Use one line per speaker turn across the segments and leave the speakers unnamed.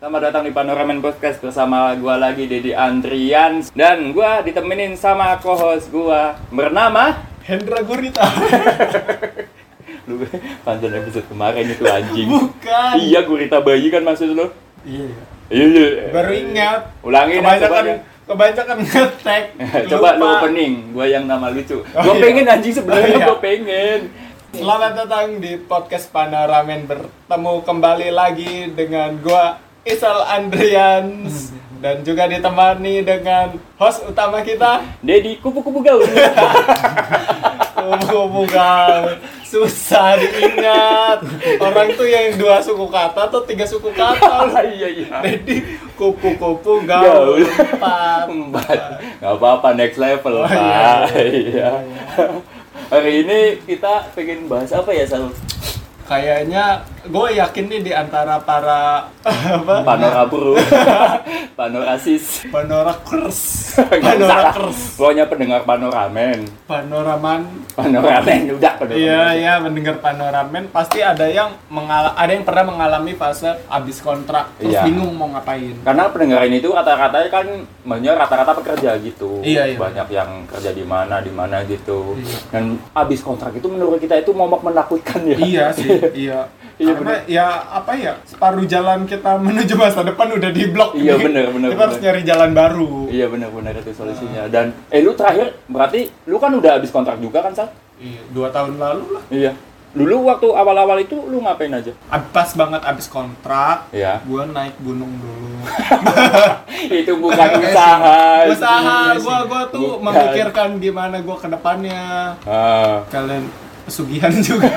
Selamat datang di Panoramen Podcast bersama gua lagi Dedi Andrian dan gua ditemenin sama co-host gua bernama
Hendra Gurita
lu panjang episode kemarin itu anjing.
Bukan.
Iya, gurita bayi kan maksud lu?
Iya
Iya, iya.
Baru ingat
Ulangin ah, coba
Kebanyakan
dia.
Kebanyakan ngetek
Coba lu
Lupa.
opening, gua yang nama lucu.
Oh,
gua
iya.
pengen anjing sebenarnya
Oh, iya.
gua pengen.
Selamat datang di podcast Panoramen Bertemu kembali lagi dengan gua Isal Andrians Dan juga ditemani dengan host utama kita
Dedi kupu-kupu gaul.
Kubu Gal Susah diingat Orang tuh yang dua suku kata atau tiga suku kata
iya, iya.
Jadi kupu-kupu gaul
Gaul.
empat
Empat. Gak apa-apa next level,
Oh,
Pak.
iya.
Iya. Hari ini kita pengen bahas apa ya, Sal?
Kayaknya gue yakin nih di antara para apa?
Panora buru. Panorasis.
Panorakers,
Nggak
panorakers,
usah. Pokoknya pendengar panoramen.
panoraman.
Panoramen udah panoramen.
Iya ya mendengar panoramen pasti ada yang mengala ada yang pernah mengalami fase abis kontrak terus
Iya.
bingung mau ngapain.
Karena pendengaran itu rata-rata kan banyak rata-rata pekerja gitu.
Iya, iya.
Banyak yang kerja di mana di mana gitu.
Iya.
Dan abis kontrak itu menurut kita itu momok menakutkan ya.
Iya sih, iya.
Iya,
Karena ya apa ya separuh jalan kita menuju masa depan udah di blok.
Iya,
nih.
bener, bener,
Kita
bener.
harus nyari jalan baru.
Iya benar-benar itu solusinya. Dan eh lu terakhir berarti lu kan udah habis kontrak juga kan, Sal?
Iya, dua tahun lalu lah.
Iya. Dulu waktu awal-awal itu lu ngapain aja?
Ab- Pas banget abis kontrak,
Iya.
gue naik gunung dulu.
itu bukan usaha.
usaha gua gua tuh
Iya Bukan.
memikirkan gimana gua ke depannya
Ah.
kalian pesugihan juga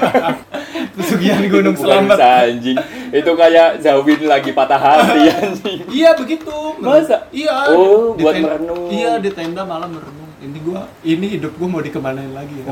pesugihan gunung
Itu bukan
selamat
usaha, anjing. Itu kayak Zawin lagi patah hati anjing.
iya begitu Men-
Masa?
iya
Oh,
di
buat
ten-
merenung.
iya di tenda malam merenung ini gua ini hidup gua mau dikemanain lagi ya.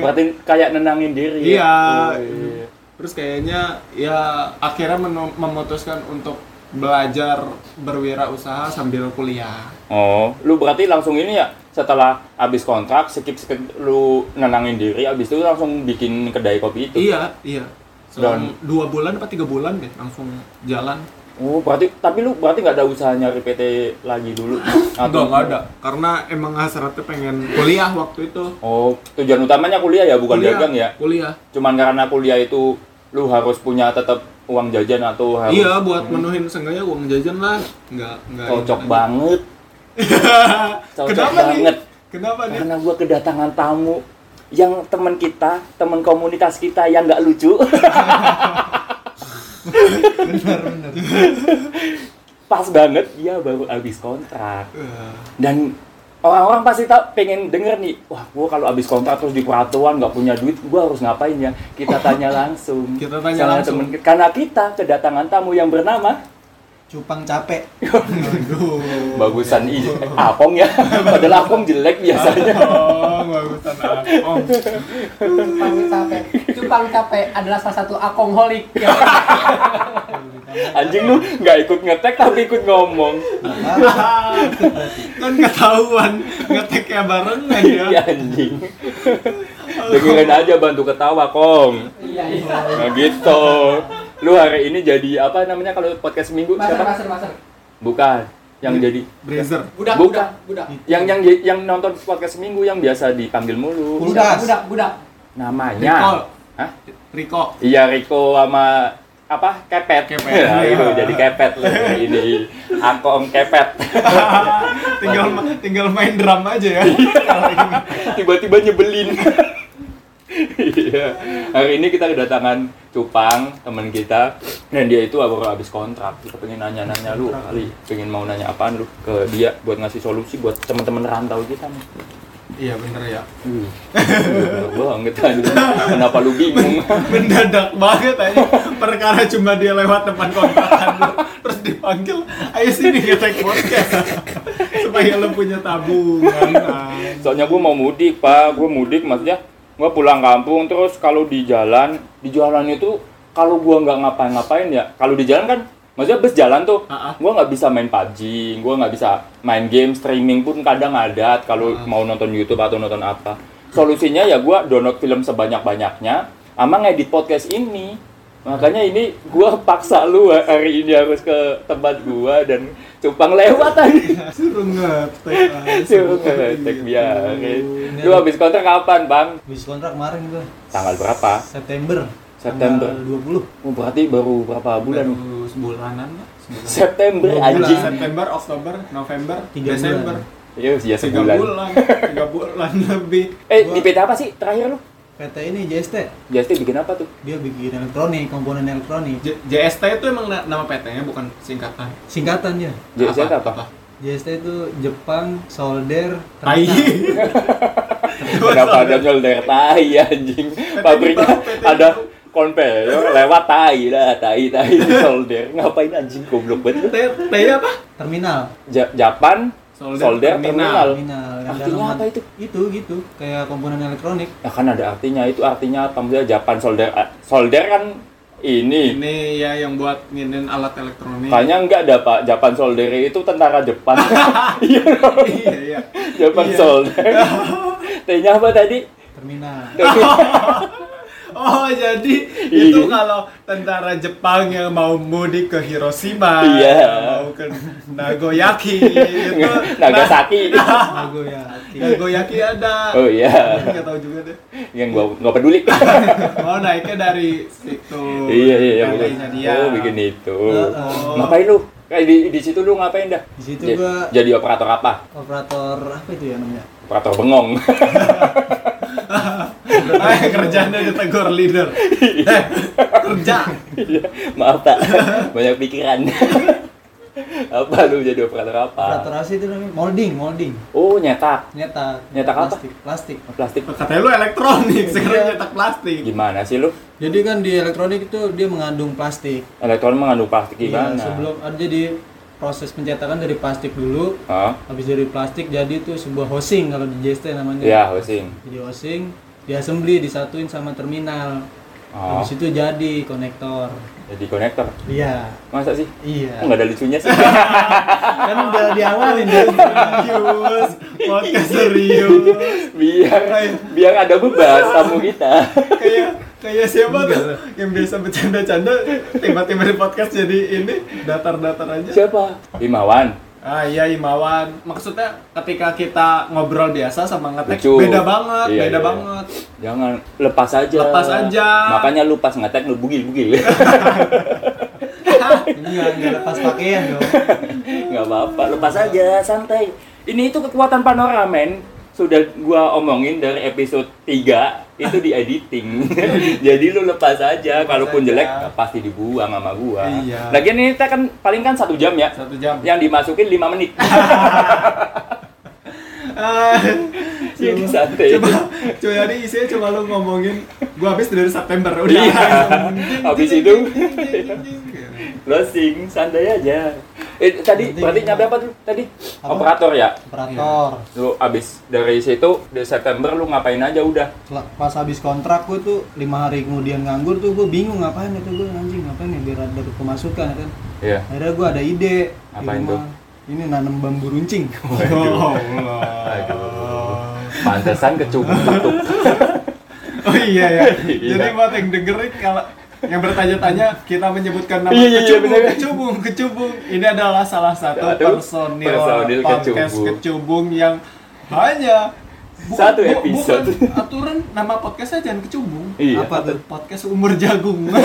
Berarti kayak nenangin diri. ya?
iya
Oh, iya.
terus kayaknya ya akhirnya menu- memutuskan untuk belajar berwirausaha sambil kuliah
Oh, lu berarti langsung ini ya setelah abis kontrak skip skip lu nenangin diri abis itu langsung bikin kedai kopi itu.
iya iya selama
Dan-
dua bulan apa tiga bulan deh langsung jalan
Oh, berarti tapi lu berarti nggak ada usaha nyari PT lagi dulu.
Enggak, enggak ada. Karena emang hasratnya pengen kuliah waktu itu.
Oh, tujuan utamanya kuliah ya, bukan
Kuliah,
dagang ya.
Kuliah.
Cuman karena kuliah itu lu harus punya tetap uang jajan atau harus
Iya, buat menuhin seenggaknya uang jajan lah. Enggak, enggak.
cocok
ini.
banget. Cocok
Kenapa
banget.
nih? Kenapa nih?
Karena gua kedatangan tamu yang teman kita, teman komunitas kita yang nggak lucu.
benar benar
Pas banget dia baru habis kontrak.
Eh,
dan orang-orang pasti tak pengen denger nih wah gua kalau abis kontrak terus di peratuan nggak punya duit gua harus ngapain ya kita tanya langsung
Kita tanya
Sama
langsung.
temen kita. karena kita kedatangan tamu yang bernama
cupang capek
Aduh.
bagusan i apong ya padahal apong jelek biasanya
Oh, bagusan Apong.
Cupang capek. Cupang capek adalah salah satu akongholik.
Iya, anjing lu nggak ikut ngetek tapi ikut ngomong
kan ketahuan ngeteknya barengan ya.
ya anjing dengerin aja bantu ketawa kong
Iya, iya.
nah gitu lu hari ini jadi apa namanya kalau podcast minggu
Master,
siapa
master, master.
bukan yang jadi
Brazer.
Budak,
Bukan.
budak, budak.
yang yang yang nonton podcast minggu yang biasa dipanggil mulu
Budak,
Kuldas.
budak, budak.
Riko.
namanya Nah. Hah?
Riko.
iya Riko sama apa kepet,
Kepet.
Ya, itu jadi kepet loh ini akong kepet
tinggal ma- tinggal main drum aja ya.
tiba-tiba nyebelin Iya. Hari ini kita kedatangan Cupang, teman kita. Dan dia itu baru habis kontrak. Kita pengen nanya-nanya lu kali. Pengen mau nanya apaan lu ke dia buat ngasih solusi buat teman-teman rantau kita nih.
Iya, bener ya.
Wih, bener banget anjing. Kenapa lu bingung?
mendadak banget aja perkara cuma dia lewat depan kontrakan lu. terus dipanggil ayo sini ngetek podcast supaya lo punya tabungan Nay.
Soalnya gue mau mudik, Pak. Gue mudik maksudnya gue pulang kampung terus kalau di jalan, di jalan itu kalau gue nggak ngapa-ngapain ya, kalau di jalan kan maksudnya bus jalan tuh,
Ah, ah.
gue nggak bisa main PUBG, gue nggak bisa main game streaming pun kadang ada kalau mau nonton YouTube atau nonton apa. Solusinya ya gue download film sebanyak-banyaknya, ama ngedit podcast ini. Makanya ini gua paksa lu hari ini harus ke tempat gua dan Cupang lewat aja.
Suruh ngetek
Suruh ngetek biarin. Lu habis kontrak kapan, Bang?
Habis kontrak kemarin gua.
Tanggal berapa?
September.
September.
Tanggal 20.
Oh, berarti baru berapa bulan?
Baru sebulanan lah. sebulan.
September
Dua bulan.
anjing.
September, Oktober, November,
Tiga
Desember.
bulan.
Iya, ya
Tiga
sebulan.
bulan, tiga bulan lebih.
Eh, di PT apa sih terakhir lu?
PT ini JST.
Jasti bikin apa tuh?
Dia bikin elektronik, komponen elektronik.
J- JST itu emang na- nama PT-nya bukan singkatan.
Singkatannya.
Jasti apa? apa?
JST itu Jepang Solder
Tai.
Kenapa ada nyolder tai anjing? Pabriknya
baru, PT
ada konveyor lewat tai lah, tai tai solder. Ngapain anjing goblok banget? lu?
T apa?
terminal.
Ja- Japan
Solder
solder terminal.
terminal.
Terminal. yang
Artinya
dalam-
apa itu?
Itu gitu, kayak komponen elektronik.
Ya kan ada artinya itu artinya apa misalnya Japan solder ah, solder kan ini.
Ini ya yang buat nginin alat elektronik.
Kayaknya enggak ada Pak Japan solder itu tentara Jepang. Iya.
Iya, iya.
Japan solder. T-nya apa tadi?
Terminal.
Oh jadi
Iya.
itu kalau tentara Jepang yang mau mudik ke Hiroshima,
Iya.
yang mau ke Nagoyaki, itu Nah,
Nagasaki.
Lagu ya.
Nagoyaki ada.
Oh iya.
Nggak tahu juga deh.
Yang gua nggak peduli.
Oh naiknya dari situ.
Iya iya iya.
Dari
bener.
dia.
Oh bikin itu.
Heeh.
Ngapain lu? Kayak di di situ lu ngapain dah?
Di situ
Ja-
gua-
jadi operator apa?
Operator apa itu ya namanya?
Operator bengong.
Ah, kerjanya ditegur leader. Eh, kerja.
Iya. Maaf Pak, banyak pikiran. apa lu jadi operator apa?
Operator apa sih itu namanya? Molding, molding.
Oh nyetak.
Nyetak.
Nyetak apa?
plastik. Plastik.
Plastik.
Katanya lu elektronik, sekarang
Iya.
nyetak plastik.
Gimana sih lu?
Jadi kan di elektronik itu dia mengandung plastik.
Elektron mengandung plastik
Iya,
gimana?
sebelum ada jadi proses pencetakan dari plastik dulu,
Hah?
habis dari plastik jadi itu sebuah housing kalau di JST namanya.
Ya, housing.
Jadi housing, diassembly, disatuin sama terminal.
Oh,
Habis itu jadi konektor.
jadi konektor.
Iya.
Masa sih?
Iya.
Enggak ada lucunya sih.
Kan udah diawalin dari
Serius, podcast serius.
biar
Iya.
biar ada beban tamu kita.
kayak kayak siapa tuh yang biasa bercanda-canda tiba-tiba di podcast jadi ini datar-datar aja
Siapa? Imawan.
ah iya Imawan maksudnya ketika kita ngobrol biasa sama ngetek
Lucu.
beda banget
Iya, iya,
beda
iya.
banget
Jangan lepas aja.
Lepas aja.
Makanya lu pas ngetek lu bugil-bugil.
Enggak, enggak lepas pakaian dong.
Enggak apa-apa, lepas aja, santai. Ini itu kekuatan panoramen sudah gua omongin dari episode 3 itu di editing. Jadi lu lepas aja, kalaupun
aja.
jelek pasti dibuang sama gua.
Iya.
Lagian ini kita kan paling kan satu jam ya.
satu jam
Yang dimasukin 5 menit.
Ah,
Jadi Iya, santai.
coba coba jadi isinya cuma lu ngomongin gua habis dari September udah
Iya. Habis itu closing, santai aja. Eh, tadi
Penting.
berarti nyampe apa tuh tadi?
Apa?
Operator ya.
Operator.
Lu abis dari situ di September lu ngapain aja udah?
Setelah- Pas habis kontrak gue tuh lima hari kemudian nganggur tuh gue bingung ngapain itu gue anjing ngapain ya biar ada pemasukan ya kan.
Iya.
Akhirnya gue ada ide. di
Apain
rumah. Ini nanam bambu runcing.
oh Allah
Pantesan kecukup.
oh iya ya
Iya.
jadi buat yang dengerin kalau yang bertanya-tanya kita menyebutkan nama
Iya, iya, iya,
kecubung,
bener.
kecubung, kecubung. Ini adalah salah satu
Aduh,
personil,
personil
podcast
Kecubung.
kecubung. yang hanya
Satu episode.
bukan aturan nama podcastnya jangan kecubung.
Iya.
Apa tuh?
Podcast umur jagung.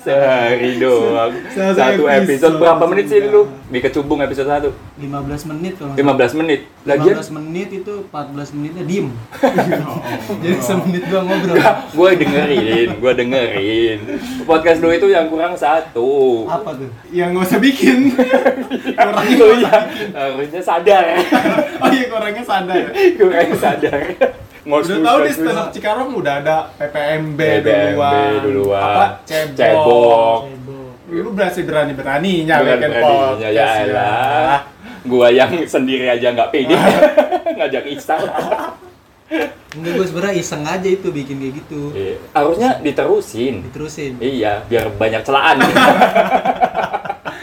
Sehari doang. satu
Se- satu
episode
episode.
berapa menit sih lu? Di kecubung episode 1.
15 menit kalau nggak salah.
15 menit. Lagian
15 menit itu 14 menitnya diem Jadi semenit gua ngobrol
gue dengerin, gue dengerin. Podcast lu itu yang kurang satu.
Apa tuh?
yang Ya, nggak usah bikin. kurangnya
Oh iya, harusnya sadar ya.
Oh iya, kurangnya sadar.
Kurang sadar.
Udah tahu di stand up Cikarang udah ada PPMB,
BBMB
duluan.
duluan.
Apa? Cebok.
Cebok.
Cebok
Lu berarti berani-beraninya
Bukan
ya, bikin
beraninya,
kan podcast.
ya elah. Gua yang sendiri aja nggak pede ngajak Iksan.
Enggak gua sebenernya iseng aja itu bikin kayak gitu
Iya. Harusnya diterusin.
Diterusin
Iya, biar banyak celaan.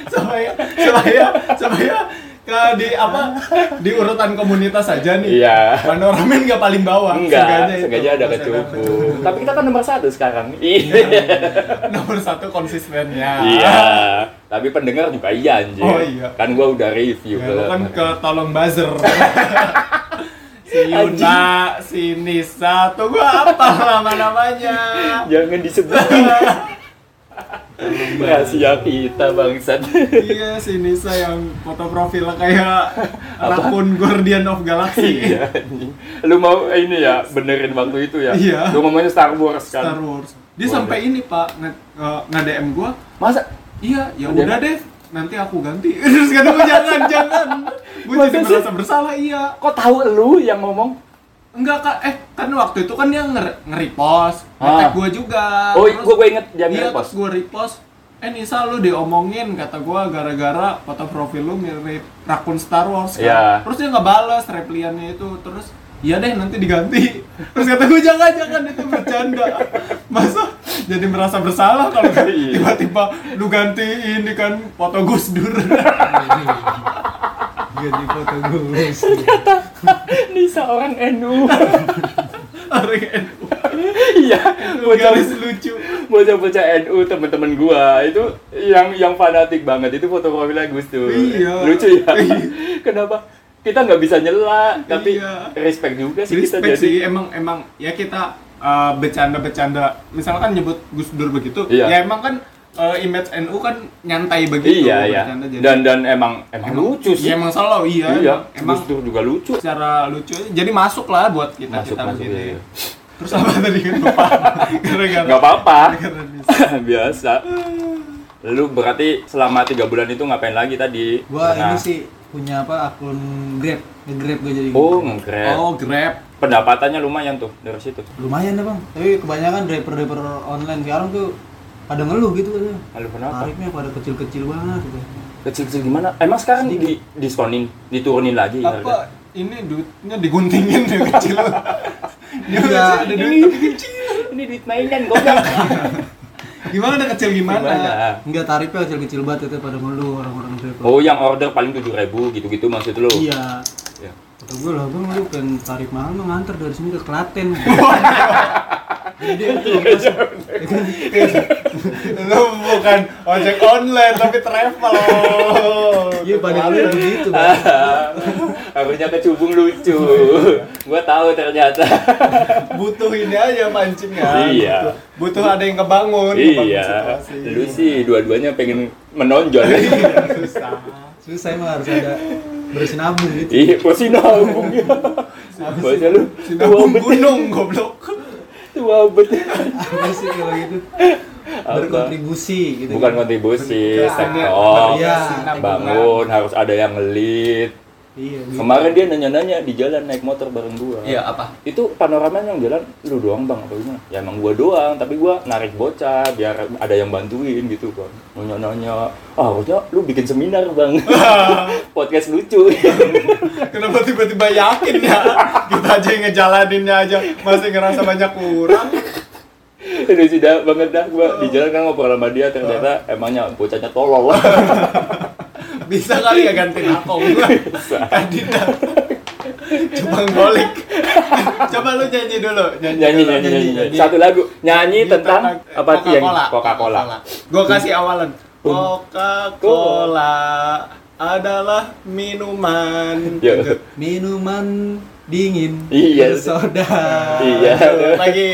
Supaya supaya supaya ke di apa di urutan komunitas aja nih.
Iya.
Panoramen nggak paling bawah.
Enggak,
itu.
sengaja ada
Masih
kecupu. Tapi kita kan nomor satu sekarang. Iya.
Nomor satu konsistennya.
Iya. Tapi pendengar juga iya anjir.
Oh, iya.
Kan gua udah review
Ya, lu kan
kemarin.
ke tolong buzzer. si Yuna, si Nisa, tuh gua apa nama-namanya?
Jangan disebut. Rahasia kita bangsat.
iya, si Nisa yang foto profil kayak rakun Guardian of Galaxy.
Iya. anjing. Lu mau ini ya benerin waktu itu ya?
Iya.
Lu ngomongnya Star Wars kan?
Star Wars.
Boleh.
Dia sampai ini, Pak, nge, eh, nge- dm gua.
Masa
Iya, ya
Ada.
udah deh. Nanti aku ganti. Terus kata gua jangan, jangan. Gua jadi
Masa sih?
merasa bersalah, iya.
kok tahu lu yang ngomong?
Enggak kak, eh kan waktu itu kan dia nge- nge-repost, nge
Ah.
tag gue juga
Oh,
Terus-
gua- gua inget dia
Iya,
nge-repost.
terus gue repost Eh Nisa lu diomongin, kata gue gara-gara foto profil lu mirip rakun Star Wars kan
Iya.
Terus dia ngebales repliannya itu, terus Iya deh nanti diganti Terus kata gue jangan, jangan itu bercanda Masa jadi merasa bersalah kalau
Iya.
tiba-tiba lu ganti ini kan foto Gus Dur
Gaji foto gue.
Nisa orang NU.
Orang NU,
Iya,
garis
bocah
lucu
bocah-bocah NU teman-teman gua itu yang yang fanatik banget itu foto profilnya Gus tuh.
Iya.
Lucu ya. Kenapa? Kita nggak bisa nyela, tapi
Iya.
respect juga sih kita
respect
jadi.
sih emang emang ya kita uh, bercanda-bercanda misalkan nyebut Gus Dur begitu
Iya.
ya emang kan uh, image NU kan nyantai begitu
Iya, iya.
bercanda, jadi-
Dan dan emang emang, lucu sih.
ya emang selalu iya,
iya,
emang,
Gus Dur juga lucu.
emang secara lucu jadi masuk lah buat kita
Masuk
Nah, kita
masuk.
begini.
iya.
terus apa tadi kan lupa gara-gara
Nggak apa-apa.
gara-gara di-
Biasa. Lu berarti selama tiga bulan itu ngapain lagi tadi?
Gua
Pernah-
ini sih punya apa akun Grab, nge-Grab gue jadi.
Oh, nge-grab.
oh grab
Pendapatannya lumayan tuh dari situ.
Lumayan deh bang, tapi kebanyakan driver-driver online sekarang tuh pada ngeluh gitu katanya.
Lalu kenapa?
Tarifnya pada kecil-kecil banget gitu.
Kecil-kecil gimana? Emang sekarang di diskonin, diturunin lagi
apa
harga?
ini duitnya diguntingin ya kecil Dia
Iya.
masih ada duit tapi kecil
Ini duit mainan goblok.
gimana ada kecil gimana,
Gimana?
Enggak tarifnya kecil-kecil banget itu pada ngeluh orang-orang driver.
Ah. Oh, yang order paling 7000 gitu-gitu maksud lu.
Iya.
Ya.
Kata gue lah bang, lu pengen tarif mahal mah nganter dari sini ke Klaten.
lu bukan ojek online tapi travel
Iya pada ngeluh
ya.
begitu. Bang.
Harusnya ke cubung lucu. Gua tahu ternyata.
butuh ini aja pancingan
Iya.
butuh, butuh ada yang kebangun kebangun
iya.
situasi.
Lu sih dua-duanya pengen menonjol.
susah
Susah emang harus ada bersinabung gitu.
Iya, kok sinabungnya. Bahasa lu tua
sinabung
bet,
gunung goblok
tua bet.
Apa sih kalau gitu?
Apa?
Berkontribusi gitu.
Bukan kontribusi,
Bukan.
sektor.
Iya.
Bangun
kan.
harus ada yang ngelit.
Iya. gitu.
Kemarin dia nanya-nanya di jalan naik motor bareng gua.
iya apa
Itu panoramen yang jalan lu doang bang apa gimana? Ya emang gua doang, tapi gua narik bocah biar ada yang bantuin gitu kan. Nanya-nanya, ah harusnya lu bikin seminar bang. Podcast lucu.
kenapa tiba-tiba yakin ya kita aja yang ngejalaninnya aja masih ngerasa banyak kurang
Ini sudah banget dah gua di jalan kan ngobrol sama dia ternyata emangnya bocahnya tolol.
bisa kali ya ganti aku tadi dah coba ngolik coba lu nyanyi dulu
nyanyi, Iya,
dulu.
nyanyi, nyanyi, nyanyi. Satu lagu nyanyi tentang apa
Iya, eh, Coca-Cola.
yang Coca-Cola. Hmm.
Gue kasih awalan. Coca-Cola adalah minuman.
Yuk.
Minuman dingin
Iya.
bersoda.
Iya.
Lagi.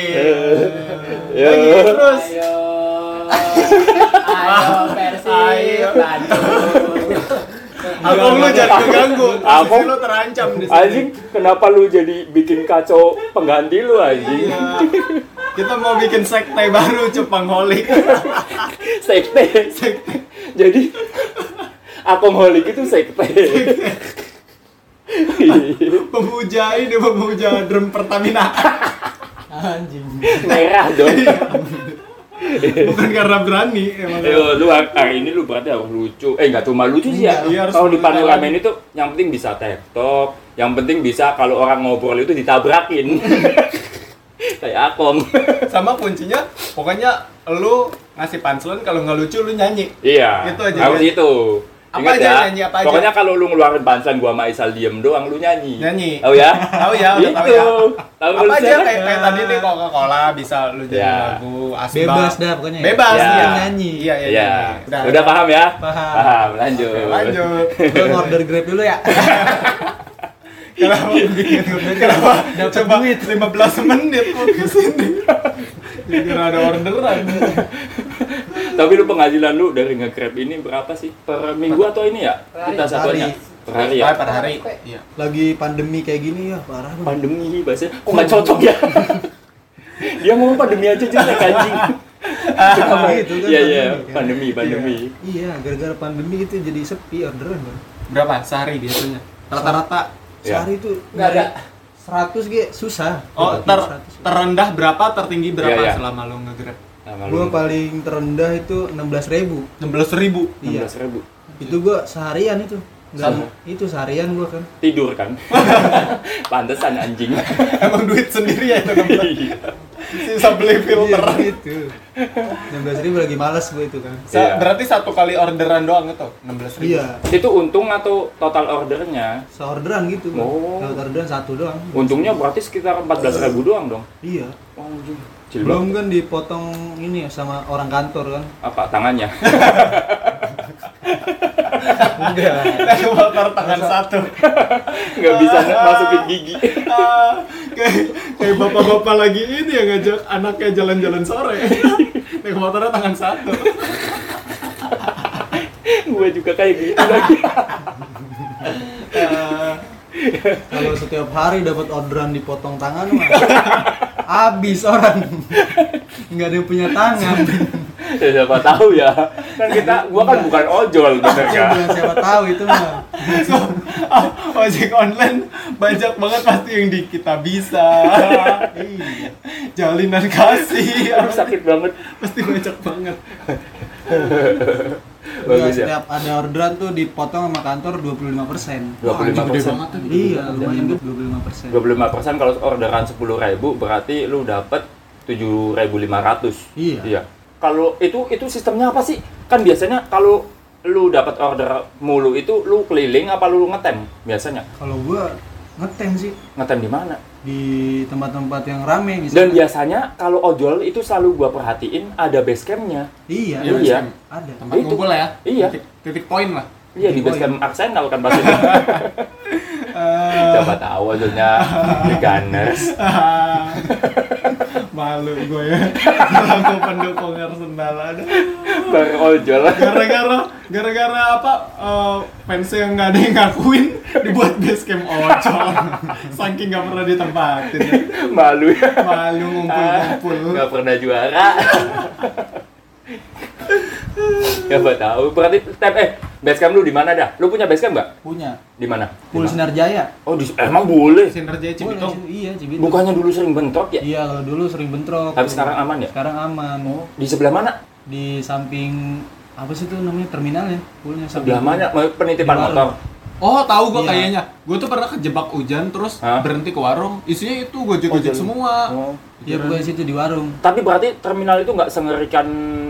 Yo.
Lagi terus.
Ayo, ayo
Ayo.
Persib, aduh.
Aku lu jadi keganggu. Aku
Aku-
lu terancam di sini.
Anjing, kenapa lu jadi bikin kacau pengganti lu anjing?
Iya. Kita mau bikin sekte baru Cupang Holik.
sekte jadi akoholik itu sekte
Pemuja ini pemuja drum Pertamina.
Anjing.
merah dong
Iya.
Bukan karena berani emang.
Yo, lu har- hari ini lu berarti harus lucu eh nggak cuma lucu sih ya
Iya, harus
kalau di
lucu.
panoramen itu yang penting bisa tektop yang penting bisa kalau orang ngobrol itu ditabrakin kayak akom
Sama kuncinya pokoknya lu ngasih punchline kalau nggak lucu lu nyanyi.
iya
Itu aja,
harus itu
kan?
Gitu Apa aja,
Ingat ya,
nyanyi apa aja?
pokoknya kalau lu ngeluarin pansan gua sama Isal diem doang, lu nyanyi.
Nyanyi.
Tahu ya?
Tahu ya, udah tahu
Itu.
ya.
Tahu
Apa aja
sekarang?
kayak, kayak tadi nih Coca-Cola bisa lu jadi
Ya.
lagu asbak.
Bebas dah pokoknya. ya?
Bebas
Ya.
iya.
Nyanyi.
Iya, iya.
Iya.
iya.
Udah, paham ya?
Paham.
lanjut.
Oke, lanjut.
Iya.
Gue order Grab dulu ya.
Kenapa Kenapa? Coba 15 menit podcast ini. Jadi ada orderan.
Tapi lu penghasilan lu dari nge-grab ini berapa sih? Per minggu atau ini ya?
Per hari.
Kita satuannya. Per hari ya?
Wah, per hari. Iya.
Lagi pandemi kayak gini ya parah. banget.
Pandemi bahasanya. Kok nggak cocok ya? Dia ngomong pandemi aja jelek anjing.
Pandemi itu kan
Iya, iya.
pandemi kan.
Pandemi, pandemi.
Iya, gara-gara pandemi itu jadi sepi orderan bang.
Berapa sehari biasanya?
Rata-rata
Iya.
Sehari itu
Nggak ada.
100 ge susah.
Oh, ter terendah berapa, tertinggi berapa
Iya, iya.
selama lu nge-grab?
Sama
Gue
lu.
paling terendah itu 16.000 ribu.
16 ribu.
Iya.
16 ribu.
Itu gua seharian itu. Nggak-
Sama.
itu seharian gua kan.
Tidur kan? Pantesan anjing.
Emang duit sendiri ya itu ngeblok. Sisa beli filter.
Iya, gitu. 16 ribu lagi males gue itu kan.
Sa-
Iya.
Berarti satu kali orderan doang itu 16 ribu.
Iya.
Itu untung atau total ordernya?
Seorderan gitu.
Oh.
Kalau orderan satu doang.
Untungnya berarti sekitar 14 ribu doang dong.
Iya.
Kecil
Belum
banget.
kan dipotong ini ya sama orang kantor kan.
Apa tangannya?
Enggak.
Kita motor tangan satu.
Nggak bisa masukin gigi.
Ah,
kayak kayak bapak-bapak lagi ini yang ngajak anaknya jalan-jalan sore. Naik motornya tangan satu.
Gue juga kayak gitu lagi.
Kalau setiap hari dapat orderan dipotong tangan mah habis orang. Enggak ada yang punya tangan.
Ya, siapa tahu ya. Kan kita gua kan bukan ojol bener kan.
Yang siapa tahu itu mah.
ah, ojek online banyak banget pasti yang di kita bisa.
Iya.
Jalinan kasih.
Aduh sakit banget.
Pasti banyak banget.
Bagus ya.
Iya, setiap ada orderan tuh dipotong sama kantor 25%.
Wah, anjing gede
25%.
banget tuh.
Iya, lumayan tuh 25%.
25% kalau orderan 10.000 berarti lu dapet 7.500.
Iya.
Kalau itu itu sistemnya apa sih? Kan biasanya kalau lu dapat order mulu itu lu keliling apa lu ngetem biasanya?
Kalau gua ngetem sih
Ngetem di mana?
di tempat-tempat yang rame
Dan ya-
misalnya.
biasanya kalau ojol itu selalu gua perhatiin ada base campnya.
iya,
Iya.
ada. Ada.
Tempat
Itu.
ngumpul lah ya.
Iya.
Titik, titik poin lah.
Iya di base camp Arsenal kan pasti. Siapa tahu ojolnya di Gunners.
Ah, Malu gue ya. Aku pendukung Arsenal ada.
Bang ojol.
Gara-gara gara-gara apa eh, fans yang nggak ada yang ngakuin dibuat basecamp ojol. Saking nggak pernah ditempatin.
Malu ya.
Malu ngumpul-ngumpul.
nggak pernah juara Siapa tahu berarti tab eh basecamp lu di mana dah lu punya basecamp nggak
Punya.
di mana Di
Full
mana?
Sinar Jaya.
oh di emang boleh
Sinergi
Boleh,
Cibitung.
iya, Cibitung.
bukannya dulu sering bentrok ya
Iya, kalau dulu sering bentrok.
tapi sekarang aman ya
Sekarang aman.
di sebelah mana
Di samping apa sih itu namanya terminalnya? Pulnya
sebelah mana Mau penitipan
Di warung.
motor
Oh, tahu gua
Iya.
kayaknya. Gua tuh pernah kejebak hujan terus
Hah?
berhenti ke warung. Isinya itu
Ojol.
gojek-gojek semua.
Oh.
Iya, bukan situ di warung.
tapi berarti terminal itu nggak sengerikan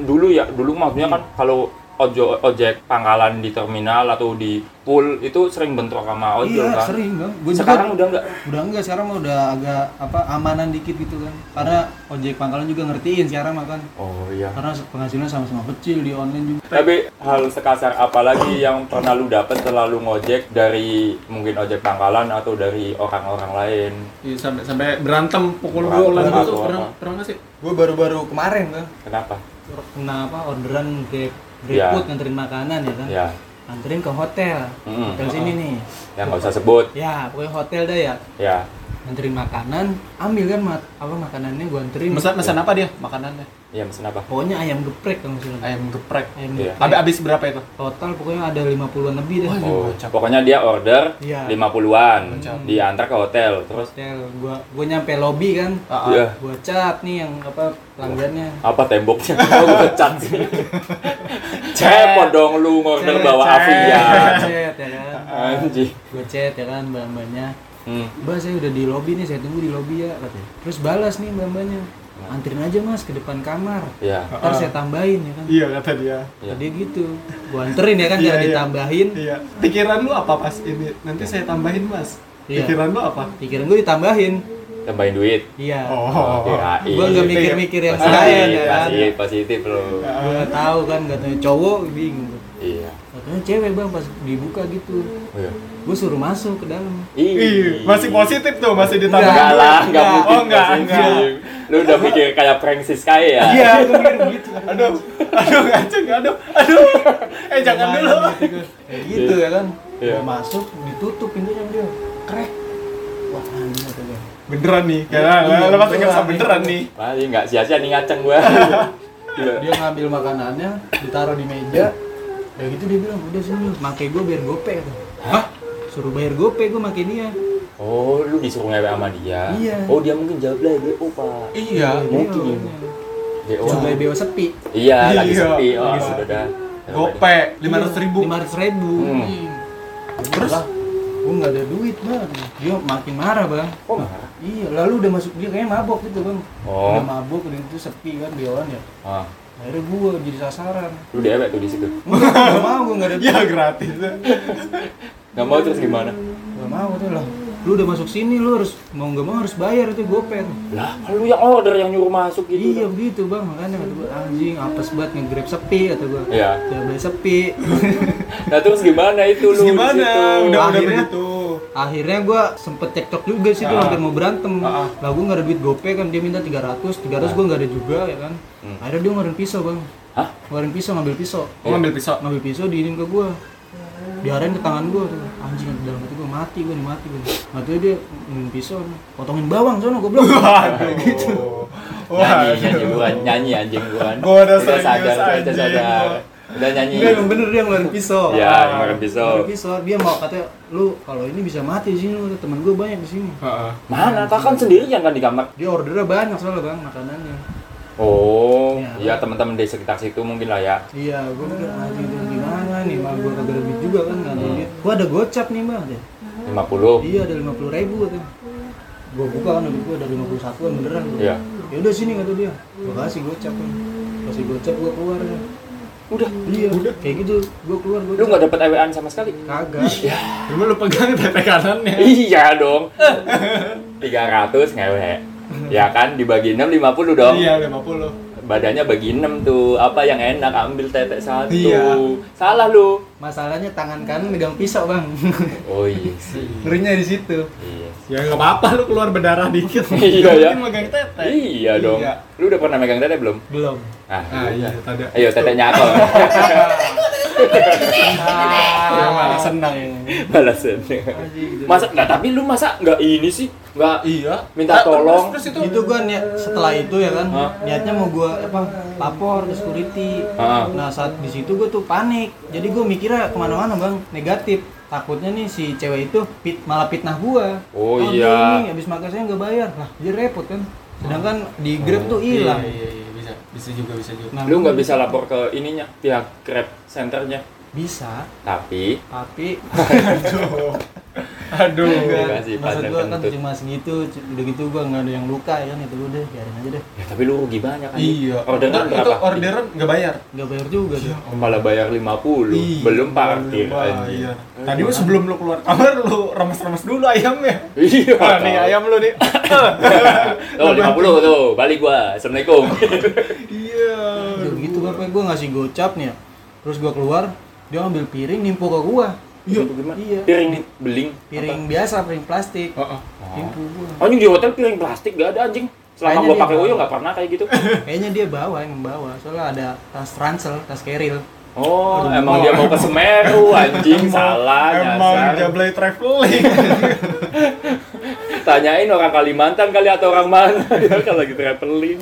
dulu ya dulu maksudnya kan
Hmm.
kalau ojo ojek pangkalan di terminal atau di pool itu sering bentrok sama ojol
iya,
kan
sering, Bang. Gua juga-
sekarang udah nggak
udah enggak sekarang mah udah agak apa amanan dikit gitu kan. Karena ojek pangkalan juga ngertiin sekarang mah kan.
oh iya
Karena penghasilan sama-sama kecil di online juga.
Tapi hal sekasar apa lagi yang pernah lu dapet selalu ngojek dari mungkin ojek pangkalan atau dari orang-orang lain?
Iya, sampai sampai berantem pukul-pukulan
Berantem
gitu
atau
pernah
apa?
pernah nggak sih?
Gue baru-baru kemarin kan
Kenapa?
kenapa orderan grab
Iya.
GrabFood nganterin makanan ya Hmm. kan.
Ya,
Anterin ke hotel.
Mm.
Hotel sini nih.
ya nggak usah sebut.
Ya, pokoknya hotel dah ya.
Ya,
nganterin makanan ambil kan mat apa makanannya gua anterin
Pesan pesan apa dia makanannya?
ya mesen apa?
pokoknya ayam geprek kalau misalnya
Ayam geprek.
ayam
Iya.
geprek
Habis habis berapa itu?
total pokoknya ada 50-an lebih dah
Wah,
Oh,
Gocap.
pokoknya dia order
Iya.
50-an, diantar ke hotel, terus
hotel gua gua nyampe lobby kan
Ah, ah.
ya
gua cat nih yang apa pelanggannya
apa temboknya? Kok gue pecat sih? Cepot dong lu ngorder
Cet,
bawa
cet,
Iya.
Avian.
cet, ya kan
Anjing.
gua chat ya kan mbak mbaknya
Hmm.
mbak saya udah di lobby nih saya tunggu di lobby ya katanya terus balas nih mbak mbaknya anterin aja mas ke depan kamar
Iya.
ntar saya tambahin ya kan
Iya kata dia.
Iya.
dia gitu gua anterin ya kan
Iya,
jangan
iya.
ditambahin
Iya. Pikiran lu apa pas ini? Nanti saya tambahin mas.
Iya.
Pikiran lu apa?
pikiran gua ditambahin
Tambahin duit.
iya
Oh.
kirain.
gua nggak mikir-mikir yang
Positif,
lain ya kan
positif, positif lo.
gua tahu kan katanya cowok bingung
Iya.
katanya cewek bang pas dibuka gitu
Oh, iya.
gua suruh masuk ke dalam
Ih.
Iya. Masih positif tuh masih ditambah.
Enggak lah, enggak
Enggak.
mungkin
Oh, enggak,
positif. Lu udah mikir kayak Francis kaya ya?
iya gua mikir begitu
gitu. Aduh, aduh ngaceng, aduh, aduh. Eh jangan dulu.
Kayak gitu ya kan
Iya.
Gua masuk ditutup pintunya sama dia krek wah anjing kata gua
Beneran nih, karena
Iya,
lu pasti
beneran
ngerasa
nih.
beneran nih.
Pasti enggak sia-sia nih ngaceng gua. Iya. Gila.
dia ngambil makanannya ditaruh di meja udah gitu dia bilang udah sini makai gue bayar gope kata hah suruh bayar gope gue makai dia
Oh, lu disuruh ngewe sama dia.
Iya.
Oh, dia mungkin jablay DO, Pak.
iya
mungkin. DO.
cuma dewa sepi
Iya, lagi
Iya,
sepi. Oh,
lagi
udah
sepi.
dah.
Gope, lima ratus ribu.
lima ratus ribu
Hmm.
terus gue nggak ada duit bang dia makin marah bang
Oh, marah.
iya lalu udah masuk dia kayaknya mabok gitu bang
Oh.
udah mabok udah itu sepi kan dewan ya
Ah,
akhirnya gue jadi sasaran
lu dewek tuh di situ.
Enggak, gak mau gue gak ada
Ya gratis.
Gak mau terus gimana?
Gak mau tuh lah Lu udah masuk sini lu harus Mau gak mau harus bayar itu gopen
Lah, kan lu yang order yang nyuruh masuk gitu.
Iya begitu bang, makanya kata gue anjing apes banget nge-grab sepi kata gue
Iya.
Udah beli sepi
Nah, terus gimana itu lu? di
Gimana?
situ?
Udah udah
Akhirnya-
begitu.
Akhirnya gue sempet cekcok juga sih tuh
Ah.
hampir mau berantem
Ah, ah.
Lah gue gak ada duit gope kan, dia minta 300 300 gue gak ada juga ya kan Akhirnya dia ngeluarin pisau bang
Hah?
Ngeluarin pisau, ngambil pisau
Gua ngambil pisau.
Ngambil pisau diinin ke gue diarahin ke tangan gue tuh anjing dalam hati gue mati gue mati gue mati dia ngambil pisau potongin bawang sono gue
Waduh.
nyanyi nyanyi
Waduh.
bukan nyanyi anjing bukan
Gua udah serius,
sadar udah
anjing,
sadar
gua.
udah nyanyi
Enggak, emang bener dia ngeluarin pisau. Ah.
ya kemarin pisau
Ngeluarin pisau. Dia mau katanya, lu kalau ini bisa mati di sini, lu temen gue banyak di sini.
Heeh.
mana kakak kan sendirian kan di kamar
Dia ordernya banyak soalnya bang makanannya.
oh
Ya.
ya, teman-teman di sekitar situ mungkin lah ya
Iya, gue mikir aja itu gimana nih, mah gue kagak lebih juga kan nggak ada duit. Gue ada gocap nih bang, deh.
50
Iya ada lima puluh ribu tuh. Gue buka kan duit gue ada lima puluh satu beneran.
Iya.
Ya udah sini kata dia. Gue kasih gocap kan. Kasih gocap gue keluar. Ya.
udah
Iya. Kayak gitu, gue keluar
lu
gocap.
nggak dapet ewean sama sekali
Kagak.
Cuma lu pegang tete kanannya.
iya dong 300 ngewe ya kan dibagi 6 50 dong
Iya, 50.
badannya bagi 6 tuh apa yang enak ambil tetek satu
Iya.
salah lu
Masalahnya tangan kanan megang pisau bang.
oh iya sih
Ngerinya di situ.
iya
Ya nggak apa-apa lu keluar berdarah dikit.
Iya, ya.
Mungkin megang tete.
Iya dong.
Iya.
Lu udah pernah megang tete belum?
Belum.
Ah,
Ah iya, tadi.
Ayo teteknya aku. iya,
Ah, malah senang.
ya. Balasan. Masa nggak tapi lu masa nggak ini sih? Nggak
Iya.
minta tolong.
Terus itu
itu gua niat setelah itu ya kan
Hah?
niatnya mau gua apa lapor ke security
Ah.
nah saat di situ gua tuh panik jadi gua mikirnya kemana-mana bang negatif takutnya nih si cewek itu pit, malah pitnah gua
Oh,
dia
iya.
nih, abis makan saya nggak bayar lah jadi repot kan sedangkan di grab tuh hilang
Iya, iya, iya, bisa. Bisa juga, bisa juga.
nah
Oh, Lu
gua
nggak bisa lapor ke ininya pihak Grab centernya.
bisa
Tapi
tapi
Aduh.
Enggak sih,
maksud
partner
gua kan
kentut.
cuma segitu c- udah gitu gua nggak ada yang luka ya kan itu udah biarin aja deh
ya, tapi lu rugi banyak kan.
Iya.
Orderan
Itu- Itu
berapa?
orderan nggak bayar.
nggak bayar juga tuh
Oh, Malah bayar 50,
Iya,
belum parkir
belum
anjing.
bayar. Tadi lu sebelum lu keluar kamar lu remes-remes dulu ayamnya.
Iya.
Wah, nih ayam lu nih.
Tuh 50 tuh, balik gua. Assalamualaikum.
Iya.
Udah gitu bapak gue ngasih gocap nih ya Terus gue keluar, dia ambil piring nimpo ke gue
Iya, gimana?
Iya.
Piring beling.
Piring biasa, piring plastik
Heeh.
Nimpo gue
Apa? Anjing di hotel piring plastik gak ada anjing. Selama
Kayaknya
gua
dia
pakai Oyo
bawa.
nggak pernah kayak gitu.
Kayaknya dia bawa, emang bawa Soalnya ada tas ransel, tas keril
Oh, emang dia mau ke Semeru anjing salah
Emang
nyasar.
jablay traveling.
Tanyain orang Kalimantan kali atau orang mana dia kan lagi traveling.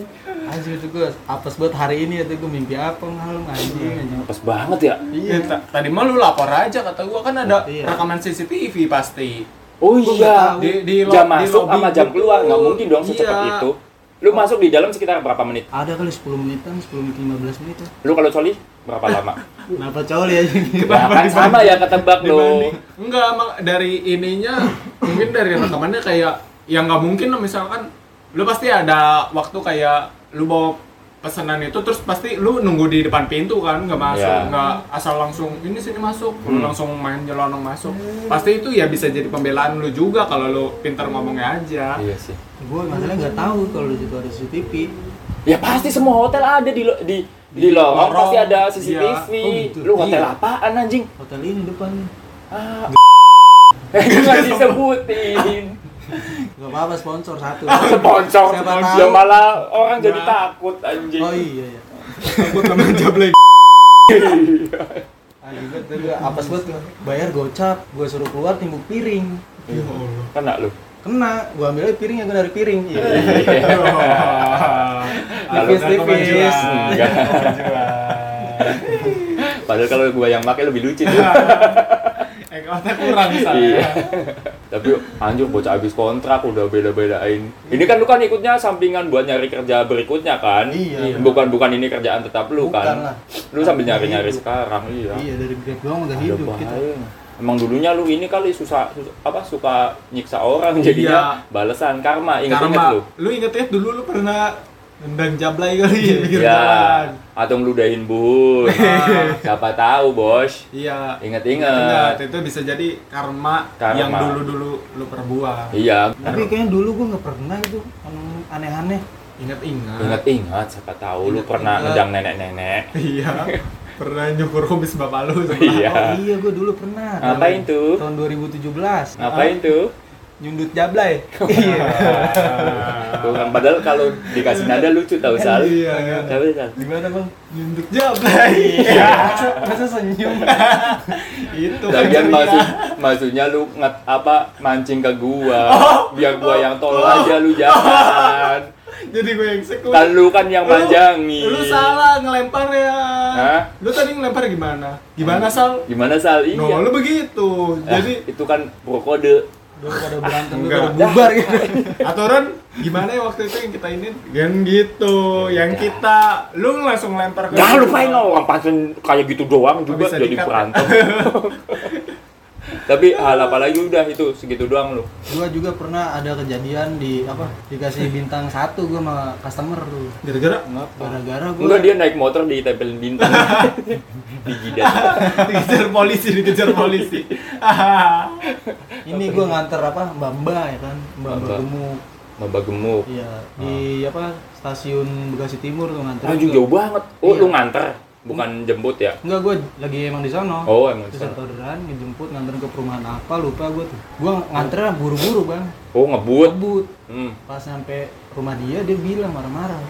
Anjir itu gue apes buat hari ini itu gue mimpi apa malam anjing anjing
Pas banget ya.
Iya, ta- tadi mah lu lapor aja kata gua kan ada
Iya.
rekaman CCTV pasti.
Oh
Gua nggak
iya,
tahu.
Di, di lo-
jam
di
masuk
lobby
sama jam
gitu.
keluar nggak mungkin dong secepat
Iya.
itu. Lu masuk di dalam sekitar berapa menit?
Ada kali 10 menitan, 10 menit 15 menit ya
Lu kalau coli berapa lama?
Kenapa coli anjing
Ya, kan sama ya ketebak lu.
dibanding enggak emang dari ininya mungkin dari rekamannya kayak ya nggak mungkin lah misalkan lu pasti ada waktu kayak lu bawa pesanan itu terus pasti lu nunggu di depan pintu kan nggak masuk
Iya.
nggak asal langsung ini sini masuk lu
Hmm.
langsung main jelonong masuk pasti itu ya bisa jadi pembelaan lu juga kalau lu pintar ngomongnya aja
Iya sih.
gue masalah nggak tahu kalau di situ ada CCTV
Ya pasti semua hotel ada di lo- di di lorong
lorong,
pasti ada
iya.
CCTV.
Oh, gitu.
Lu hotel
Iya.
apaan anjing?
hotel ini depan
Ah. Eh, jangan disebutin.
nggak apa-apa sponsor satu
Sponsor,
Siapa
sponsor.
tahu.
malah orang jadi
Nah.
takut anjing.
oh iya ya
aku temen jablek
apa buat bayar gocap gue suruh keluar timbuk piring
Iya. Kena lu.
kena gue ambil aja piring yang gua dari piring Iya,
Iya.
Ya. tipis-tipis
Enggak. Padahal kalau gua yang pakai lebih lucu tuh.
ekotnya Eh, kurang
Iya.
misalnya
Tapi anjir bocah habis kontrak udah beda-bedain. Ini kan lu kan ikutnya sampingan buat nyari kerja berikutnya kan?
Iya.
Bukan bukan ini kerjaan tetap lu
Bukan
kan.
lah.
Lu sambil nyari-nyari
Hidup.
sekarang iya.
iya dari grab doang udah
Ada
hidup gitu.
bahaya.
kita
Emang dulunya lu ini kali susah, susah- apa suka nyiksa
Iya.
orang jadinya balesan karma ingat ingat
karma
lu.
lu inget-inget dulu lu pernah nendang jablay kali di pinggir
Ya,
jalan
atau ngeludahin bun.
Iya.
Ah, Siapa tahu, Bos.
Iya. Ingat,
Ingat-ingat.
itu bisa jadi karma,
Karma.
yang dulu-dulu lu perbuat.
Iya,
tapi kayaknya dulu gue nggak pernah itu ngomong aneh-aneh
Ingat-ingat.
ingat-ingat siapa tahu lu
Ingat-ingat.
pernah ngejang nenek-nenek.
Iya. Pernah nyukur kumis bapak lu sebelah.
oh
Iya.
iya gue dulu pernah
Ngapain
Tahun-
tuh?
tahun 2017
Ngapain tuh?
nyundut jablay iya
Kurang kan, padahal kalau dikasih nada lucu tahu sal.
Ah. Iya, iya.
Tapi Sal,
gimana bang
Nyunduk
Iya.
jablay.
masa, masa senyum
itu
Lagian
kan
maksud
ceria.
maksudnya lu nget apa mancing ke gua
Oh.
biar gua yang tolol aja lu jangan.
Jadi gue yang sekut.
Kan lu kan yang manjangin.
Lu, salah ngelempar ya.
Hah?
Lu tadi ngelempar gimana? Gimana Sal?
Gimana Sal? Iya.
No, lu begitu.
Ah,
Jadi
itu kan pro kode.
dulu pada berantem dulu
Enggak.
pada bubar gitu
aturan gimana ya waktu itu yang kita ini kan gitu yang
Ya.
kita lu langsung lempar ke
Jangan lupain lo orang pancen kayak gitu doang
Nggak
juga
Oh, bisa
jadi
di-cut. ya?
berantem. Tapi hal apa lagi udah itu segitu doang lu.
gua juga pernah ada kejadian di apa dikasih bintang satu gua sama customer tuh
gara-gara
gara-gara gua
Enggak dia naik motor ditempelin bintang. Dijidat.
dikejar polisi dikejar polisi
ini gua nganter apa mbak mbak ya kan mbak mbak
Mbak-mbak.
gemuk
Maba gemuk.
iya di apa stasiun bekasi timur tuh nganter
Anjing
juga.
Ah. jauh banget. Oh,
Iya. Hmm.
lu nganter, bukan jemput ya?
Enggak, gue lagi emang di sono.
Oh, emang di
di
sono.
Santoran ngejemput nganterin ke perumahan apa lupa gue tuh. Gue nganter buru-buru, Bang.
Oh, ngebut.
Ngebut.
Hmm.
Pas sampai rumah dia dia bilang marah-marah.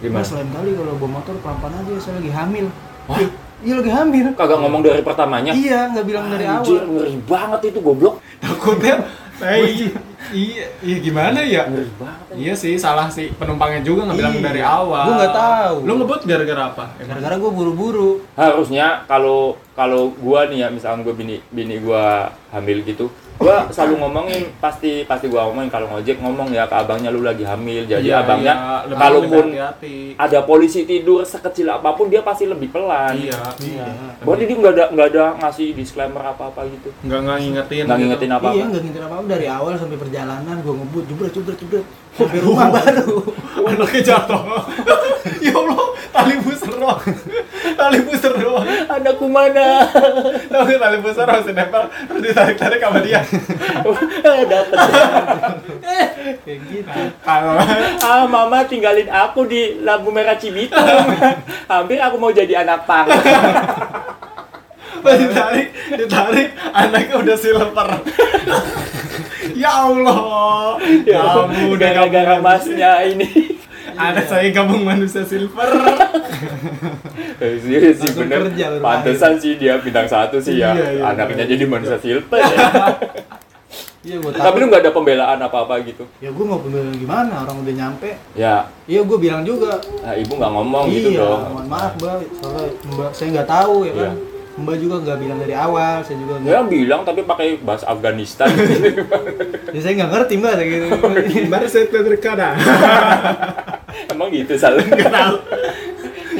Gimana?
Mas, lain kali kalau bawa motor pelan-pelan aja, saya lagi hamil. Hah? Iya lagi hamil.
Kagak ngomong dari pertamanya.
Iya, nggak bilang dari
Anjir,
awal.
ngeri banget itu goblok.
takutnya eh, i- iya iya gimana ya
Ngeri banget.
iya sih salah sih penumpangnya juga nggak bilang
Iya.
dari awal
Gua nggak tahu.
lu ngebut gara-gara apa emang?
Ya, Gara-gara gue buru-buru.
harusnya kalau kalau gua nih ya misalkan gua bini bini gua hamil gitu gua
Iya.
selalu ngomongin pasti pasti gua ngomongin kalau ngojek ngomong ya ke abangnya lu lagi hamil jadi
Iya,
abangnya
iya, lebih
kalaupun
ya."
hati-hati.
ada polisi tidur sekecil apapun dia pasti lebih pelan
iya
Iya.
berarti dia nggak ada nggak ada ngasih disclaimer apa apa gitu
nggak nggak ngingetin
nggak
gitu.
ngingetin apa
Iya,
apa
nggak ngintir apa-apa dari awal sampai perjalanan gue ngebut, jubret jubret jubret sampai rumah baru.
anaknya jatuh ya allah tali buserok tali buserok
anakku mana
Tahu nggak tali besar harus nempel harus ditarik-tarik sama dia.
dapat
Kayak gitu.
Kalau
ah mama tinggalin aku di lampu merah Cibitung hampir aku mau jadi anak pang
pas ditarik, ditarik anaknya udah silver. ya Allah.
ya
kamu udah
gara-gara
gabungan.
masnya ini
Anak saya gabung manusia silver.
Eh, Iya sih
Langsung
bener,
kerja baru
pantesan sih dia bintang satu sih ya,
Iya, iya,
anaknya
iya.
jadi manusia silver ya.
Iya, gue
Tapi lu nggak ada pembelaan apa-apa gitu.
Ya gue mau bilang gimana, orang udah nyampe.
Ya,
Iya, gue bilang juga,
nah, ibu nggak ngomong gitu
iya,
dong.
mohon maaf mbak, soalnya mbak saya nggak tahu ya kan.
Iya.
Mbak juga nggak bilang dari awal, saya juga nggak.
Dia bilang tapi pakai bahasa Afghanistan. Iya.
Ya, saya nggak ngerti mbak, saya gitu.
Baru saya terkadang.
Emang gitu salah.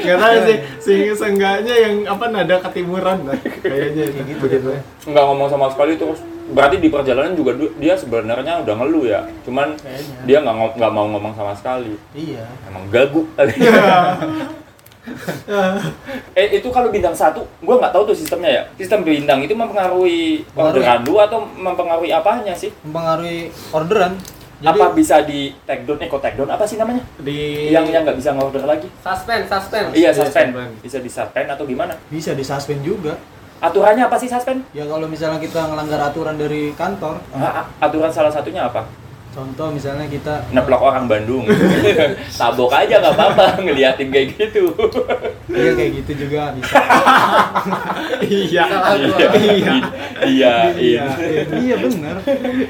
Gak tahu sih, sehingga seenggaknya yang apa nada ketimuran lah kayaknya itu begitu.
Nggak ngomong sama sekali terus berarti di perjalanan juga du- dia sebenarnya udah ngeluh ya cuman
Kayaknya.
dia nggak ngo- nggak mau ngomong sama sekali
Iya.
emang gagu kali eh itu kalau bintang satu gua nggak tahu tuh sistemnya ya sistem bintang itu mempengaruhi
Pengaruh.
orderan lu atau mempengaruhi apanya sih
Mempengaruhi orderan.
apa bisa di take down eh kok take down apa sih namanya
di
yang yang nggak bisa ngorder lagi
Suspend, suspend.
iya
Iya,
suspend
suspend.
bisa di suspend atau gimana
bisa disuspend juga.
aturannya apa sih suspend
Ya kalau misalnya kita ngelanggar aturan dari kantor,
Ah, ah, aturan salah satunya apa
contoh misalnya kita
neplok orang Bandung tabok aja nggak apa-apa ngeliatin kayak gitu
Iya kayak gitu juga bisa.
iya
Salah gua.
iya iya iya
iya benar.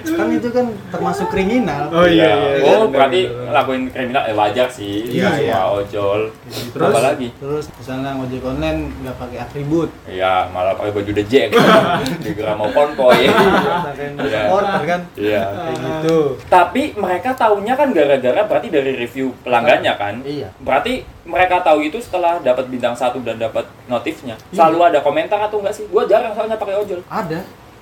Kan itu kan termasuk kriminal.
oh iya iya iya.
oh berarti lakuin kriminal eh, wajar sih
Iya,
Semua
iya.
ojol
Terus?
apa lagi
Terus misalnya ngojek online nggak pakai atribut,
Iya, malah pakai baju The Jack. di gramofon poi.
Ah.
pakai supporter kan.
Iya.
Kayak gitu.
Tapi mereka taunya kan gara-gara berarti dari review pelanggannya kan?
Iya.
Berarti mereka tahu itu setelah dapat bintang satu dan dapat notifnya.
Iya.
Selalu ada komentar atau enggak sih? Gua jarang soalnya pakai ojol.
Ada.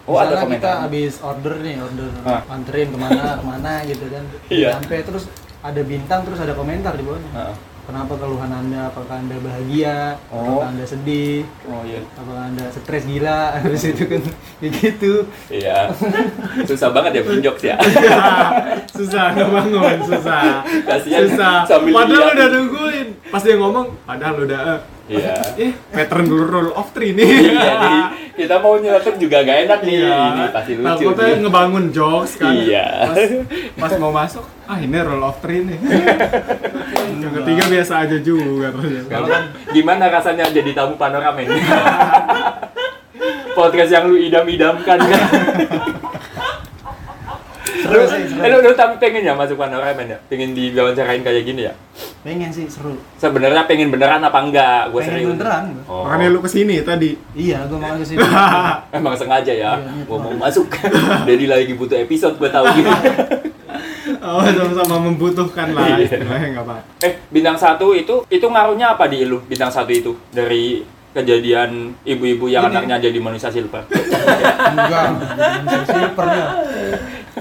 Oh, ada
Misalnya kita
komentar.
habis order nih, order
Ah.
anterin kemana kemana gitu kan.
Iya. Ah.
Sampai terus ada bintang terus ada komentar di bawahnya.
Heeh.
Kenapa keluhan Anda? Apakah Anda bahagia?
Oh.
Apakah Anda sedih?
Oh iya.
Apakah Anda stres gila? Habis itu kan kayak gitu.
Iya. Susah banget ya bikin jokes ya.
susah ngebangun susah
Kasihan
susah
sambil lihat.
padahal udah nungguin pas dia ngomong padahal udah eh,
Iya.
eh pattern dulu roll off three nih
Iya, nih. kita mau nyeletuk juga gak enak nih.
Iya.
Ini pasti lucu.
Nah,
Iya. takutnya
nih.
ngebangun jokes kan
Iya.
pas, pas mau masuk ah ini roll off three nih yang ketiga biasa aja juga ternyata
Kalau kan gimana rasanya jadi tamu panoramen? Podcast yang lu idam-idamkan kan? lu,
Seru sih, seru.
eh, lu, lu tapi pengen ya masuk panoramen ya? Pengen diwawancarain kayak gini ya?
Pengen sih seru.
Sebenarnya pengen beneran apa enggak? Gue serius.
Pengen beneran gua.
Oh.
makanya lu kesini tadi
Iya, gue mau ke sini.
Emang sengaja ya,
Iya,
gua mau masuk. Jadi lagi butuh episode, gue tahu gitu.
oh sama-sama membutuhkan lah
Iya.
istilahnya nggak apa
eh, bintang satu itu, itu ngaruhnya apa di lu? Bintang satu itu dari kejadian ibu-ibu yang
Ini.
anaknya jadi manusia silver.
Enggak, bukan silvernya.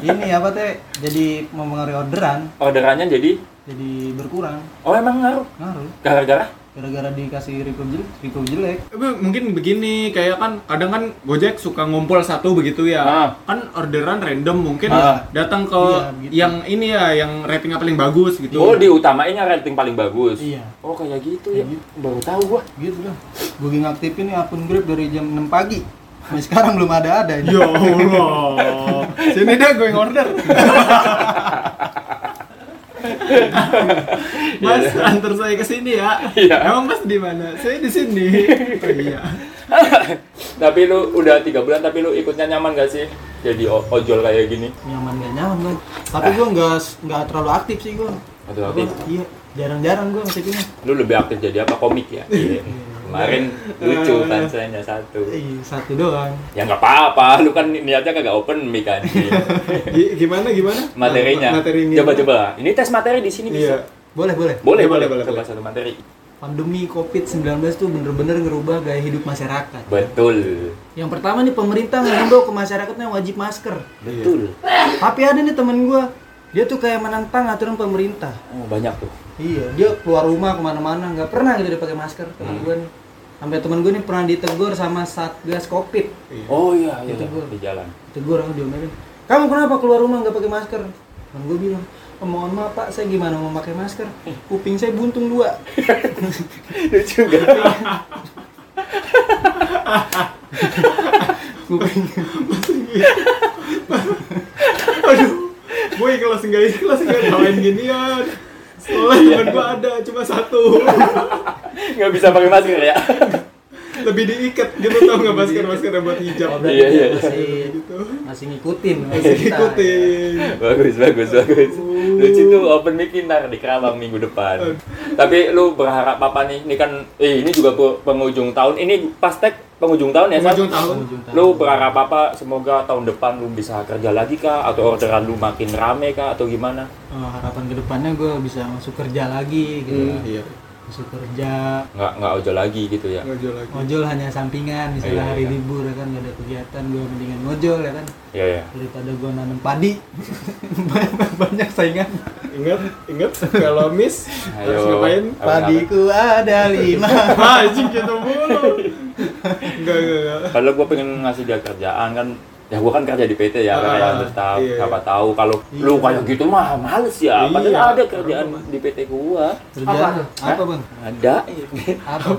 Ini apa teh? Jadi mempengaruhi orderan,
Orderannya jadi,
jadi berkurang,
oh emang ngaruh?
ngaruh.
Gara-gara?
Gara-gara dikasih rekom jelek, rekom jelek.
Eh, mungkin begini kayak kan kadang kan Gojek suka ngumpul satu begitu ya
Ah.
kan orderan random mungkin
Ah.
datang ke
Iya, gitu.
yang ini ya yang ratingnya paling bagus gitu
Oh, diutamainnya rating paling bagus.
Iya.
Oh, kayak gitu ya.
Kayak gitu.
Baru tahu gua.
Gitu dah. Gue ngaktifin nih akun Grab dari jam 6 pagi. Sampai sekarang belum ada ada ini.
ya Allah sini deh gue yang order Mas, antar saya ke sini ya.
Iya.
Emang Mas di mana? Saya di sini. Oh, iya.
tapi lu udah tiga bulan tapi lu ikutnya nyaman gak sih? Jadi o- ojol kayak gini.
Nyaman gak nyaman kan? Tapi gue nggak nggak terlalu aktif sih gue.
Atau aktif.
Iya, jarang-jarang gue ngaktifnya.
Lu lebih aktif jadi apa komik ya? Iya. Kemarin lucu kan sayangnya satu.
Eh, satu doang.
Ya nggak apa-apa, lu kan ni- niatnya kagak open mic kan.
Gi- Gimana gimana?
Materinya.
Materinya.
Coba-coba. Ini tes materi di sini bisa.
Iya.
Boleh, boleh.
Boleh,
Iya,
boleh,
boleh,
Coba
boleh.
satu materi.
Pandemi COVID-19 tuh bener-bener ngerubah gaya hidup masyarakat.
Betul.
Yang pertama nih pemerintah menghimbau ke masyarakatnya wajib masker.
Betul.
Tapi ada nih temen gua, dia tuh kayak menentang aturan pemerintah.
Oh, banyak tuh.
Iya, dia keluar rumah kemana-mana nggak pernah gitu dia pakai masker. Temen
Hmm.
gua nih, sampai temen gua nih pernah ditegur sama satgas covid.
Oh iya, iya.
Itu gua.
Di jalan.
Ditegur sama diomelin. Kamu kenapa keluar rumah nggak pakai masker? Temen gua bilang, "Oh, mohon maaf pak, saya gimana mau pakai masker? Kuping saya buntung dua.
Lucu gak?
Kuping.
Gue ikhlas enggak ikhlas enggak tawain ginian. Soalnya
Iya.
temen gue ada cuma satu.
Nggak bisa pakai masker ya?
Lebih diikat gitu tau nggak masker-masker yang buat hijab.
Oh, berarti
Iya,
dia
iya, iya.
masih
Gitu.
masih ngikutin.
Masih
kita.
ikutin.
bagus bagus bagus lucu tuh open mic ntar di Kerawang minggu depan tapi lu berharap apa nih ini kan eh, ini juga pe- penghujung tahun ini pastek penghujung tahun ya Sat?
Penghujung tahun.
lu berharap apa semoga tahun depan lu bisa kerja lagi kah atau orderan lu makin rame kah atau gimana Hmm.
Eh, harapan kedepannya gue bisa masuk kerja lagi gitu
Iya.
besok kerja
nggak nggak ojol lagi gitu ya
Ngojol lagi.
ngojol hanya sampingan misalnya
Iya,
hari
iya.
libur ya kan nggak ada kegiatan gue mendingan ngojol ya kan
iya iya
daripada gue nanam padi banyak, banyak saingan
Ingat, ingat kalau miss harus
Ayo.
ngapain?
Apa,
padiku ada lima
Ah, anjing gitu mulu. Enggak, enggak, enggak.
padahal gue pengen ngasih dia kerjaan kan ya gue kan kerja di PT ya kan
Ah,
kayak tetap
iya, iya.
siapa tahu kalau
Iya.
lu kayak gitu mah males ya
Iya,
padahal ada kerjaan di PT gua
kerjaan
Apa?
apa bang
ada
apa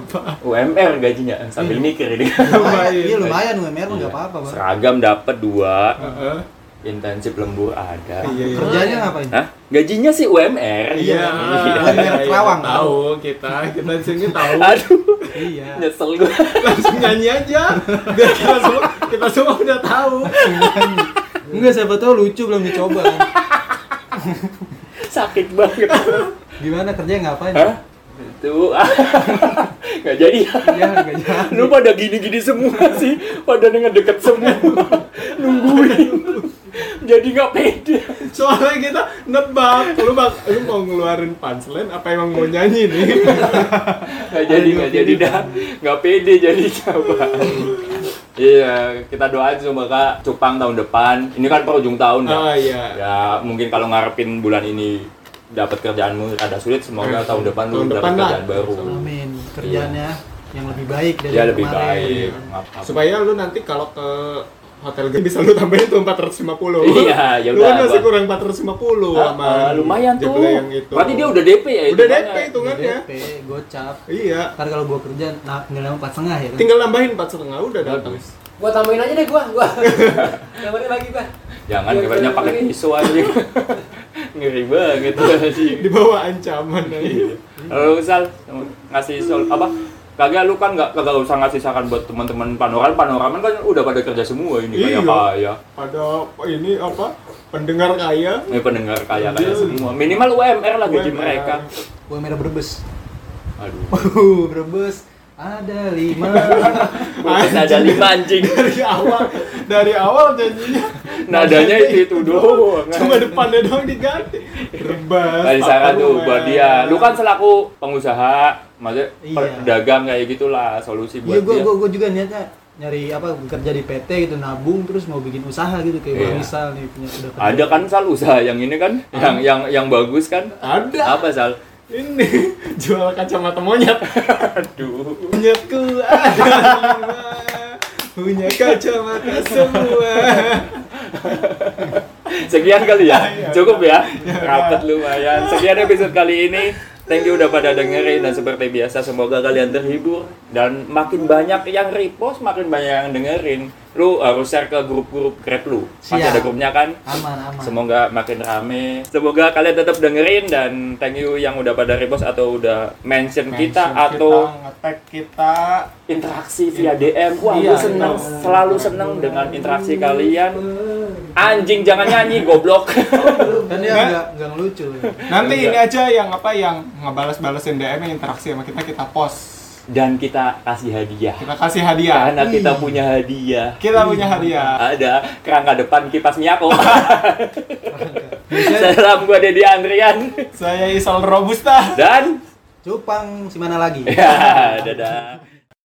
UMR gajinya
Iya.
sambil mikir ini
lumayan
Lumayan.
iya lumayan UMR mah nggak
Iya.
apa-apa bang
seragam dapat dua
Heeh.
intensif lembur ada
Ah. Iya, iya.
kerjanya ngapain
Hah? gajinya sih UMR Iya.
Iya,
Oh, iya, Kerawang.
Tahu kita, kita di sini tahu.
aduh
iya
nyesel gue
Langsung nyanyi aja. Biar kita semua, kita semua udah tahu.
enggak siapa tahu lucu belum dicoba kan.
sakit banget
gimana kerja ngapain
Hah? Itu ah. nggak jadi.
Iya, nggak jadi.
Lu pada gini-gini semua sih, pada dengan deket semua. Nungguin. Jadi nggak pede.
Soalnya kita nebak, lu bak, lu mau ngeluarin punchline apa emang mau nyanyi nih?
Nggak jadi, nggak jadi dah. Nggak pede jadi coba. Iya, kita doain semoga Kak Cupang tahun depan. Ini kan perujung tahun ya.
Ah iya.
Ya, mungkin kalau ngarepin bulan ini dapat kerjaanmu ada sulit, semoga Eh, tahun depan lu
Tahun
dapat
depan lah.
kerjaan baru.
Amin. Kerjanya yang lebih baik dari
Ya Iya. lebih
kemarin.
baik. Maaf.
Supaya lu nanti kalau ke hotel gede bisa lu tambahin tuh 450.
Iya, ya udah,
Lu kan masih
gua-
kurang 450 sama
Ah, lumayan tuh.
Jebule yang itu.
Berarti dia udah DP ya?
Udah
hitungannya?
DP hitungannya.
DP, gocap.
Iya.
Ntar kalau gua kerja, nah, nggak lama empat setengah ya kan?
Tinggal nambahin 4,5 setengah udah
Iya,
habis.
Gua tambahin aja deh gua, gua. Gambarnya bagi gua.
Jangan
Iya,
kerennya
iya,
pakai
iya.
pisau aja. Ngeri banget tuh sih.
Di bawah ancaman
Iya.
Iya. aja.
Lalu Sal ngasih sol apa? Kagak lu kan nggak kagak usah ngasih saran buat teman-teman panoram panoraman kan udah pada kerja semua ini
Iya.
kayak ya? kaya.
Pada ini apa? Pendengar kaya.
Ini pendengar kaya kaya
Iya.
semua. Minimal UMR lah gaji
UMR.
mereka.
Gua merah berbes.
Aduh.
Uh, berbes. Ada lima.
Bukan ada lima anjing.
Dari awal, dari awal janjinya
Nadanya itu itu doang.
cuma depannya doang diganti. Rebas.
Dari saran tuh
apartemen.
buat dia. Lu kan selaku pengusaha, maksudnya
Iya.
pedagang kayak gitulah solusi
Iya,
buat
gua,
dia.
gua, gua juga niatnya nyari apa kerja di PT gitu nabung terus mau bikin usaha gitu kayak
Iya.
Bang Rizal nih punya udah kerja.
Ada kan Sal usaha yang ini kan, yang yang yang bagus kan?
Ada.
Apa Sal?
Ini jual kacamata monyet.
Aduh.
Punyaku ada lima. Punya kacamata semua.
Sekian kali ya, cukup ya. Rapat lumayan. Sekian episode kali ini. Thank you udah pada dengerin dan seperti biasa semoga kalian terhibur dan makin banyak yang repost, makin banyak yang dengerin. Lu harus share ke grup-grup Grab lu. Masih
Siap.
ada grupnya kan?
aman aman.
Semoga makin rame. Semoga kalian tetap dengerin dan thank you yang udah pada repost atau udah mention, kita
Mention
atau
kita, ngetek kita
interaksi via DM. Wah,
Iya,
gue seneng,
iya.
selalu seneng dengan interaksi kalian. Anjing jangan nyanyi, goblok.
Kan dia
Nggak?
nggak nggak lucu.
nanti ini aja yang apa yang ngebalas-balesin DM yang interaksi sama kita kita post
Dan kita kasih hadiah. Ya,
kita kasih hadiah
Karena kita punya hadiah.
kita punya hadiah
Ada kerangka depan kipas Miyako. Salam gue Dedi Andrian
saya Isal Robusta
dan
Cupang si mana lagi?
ya, dadah.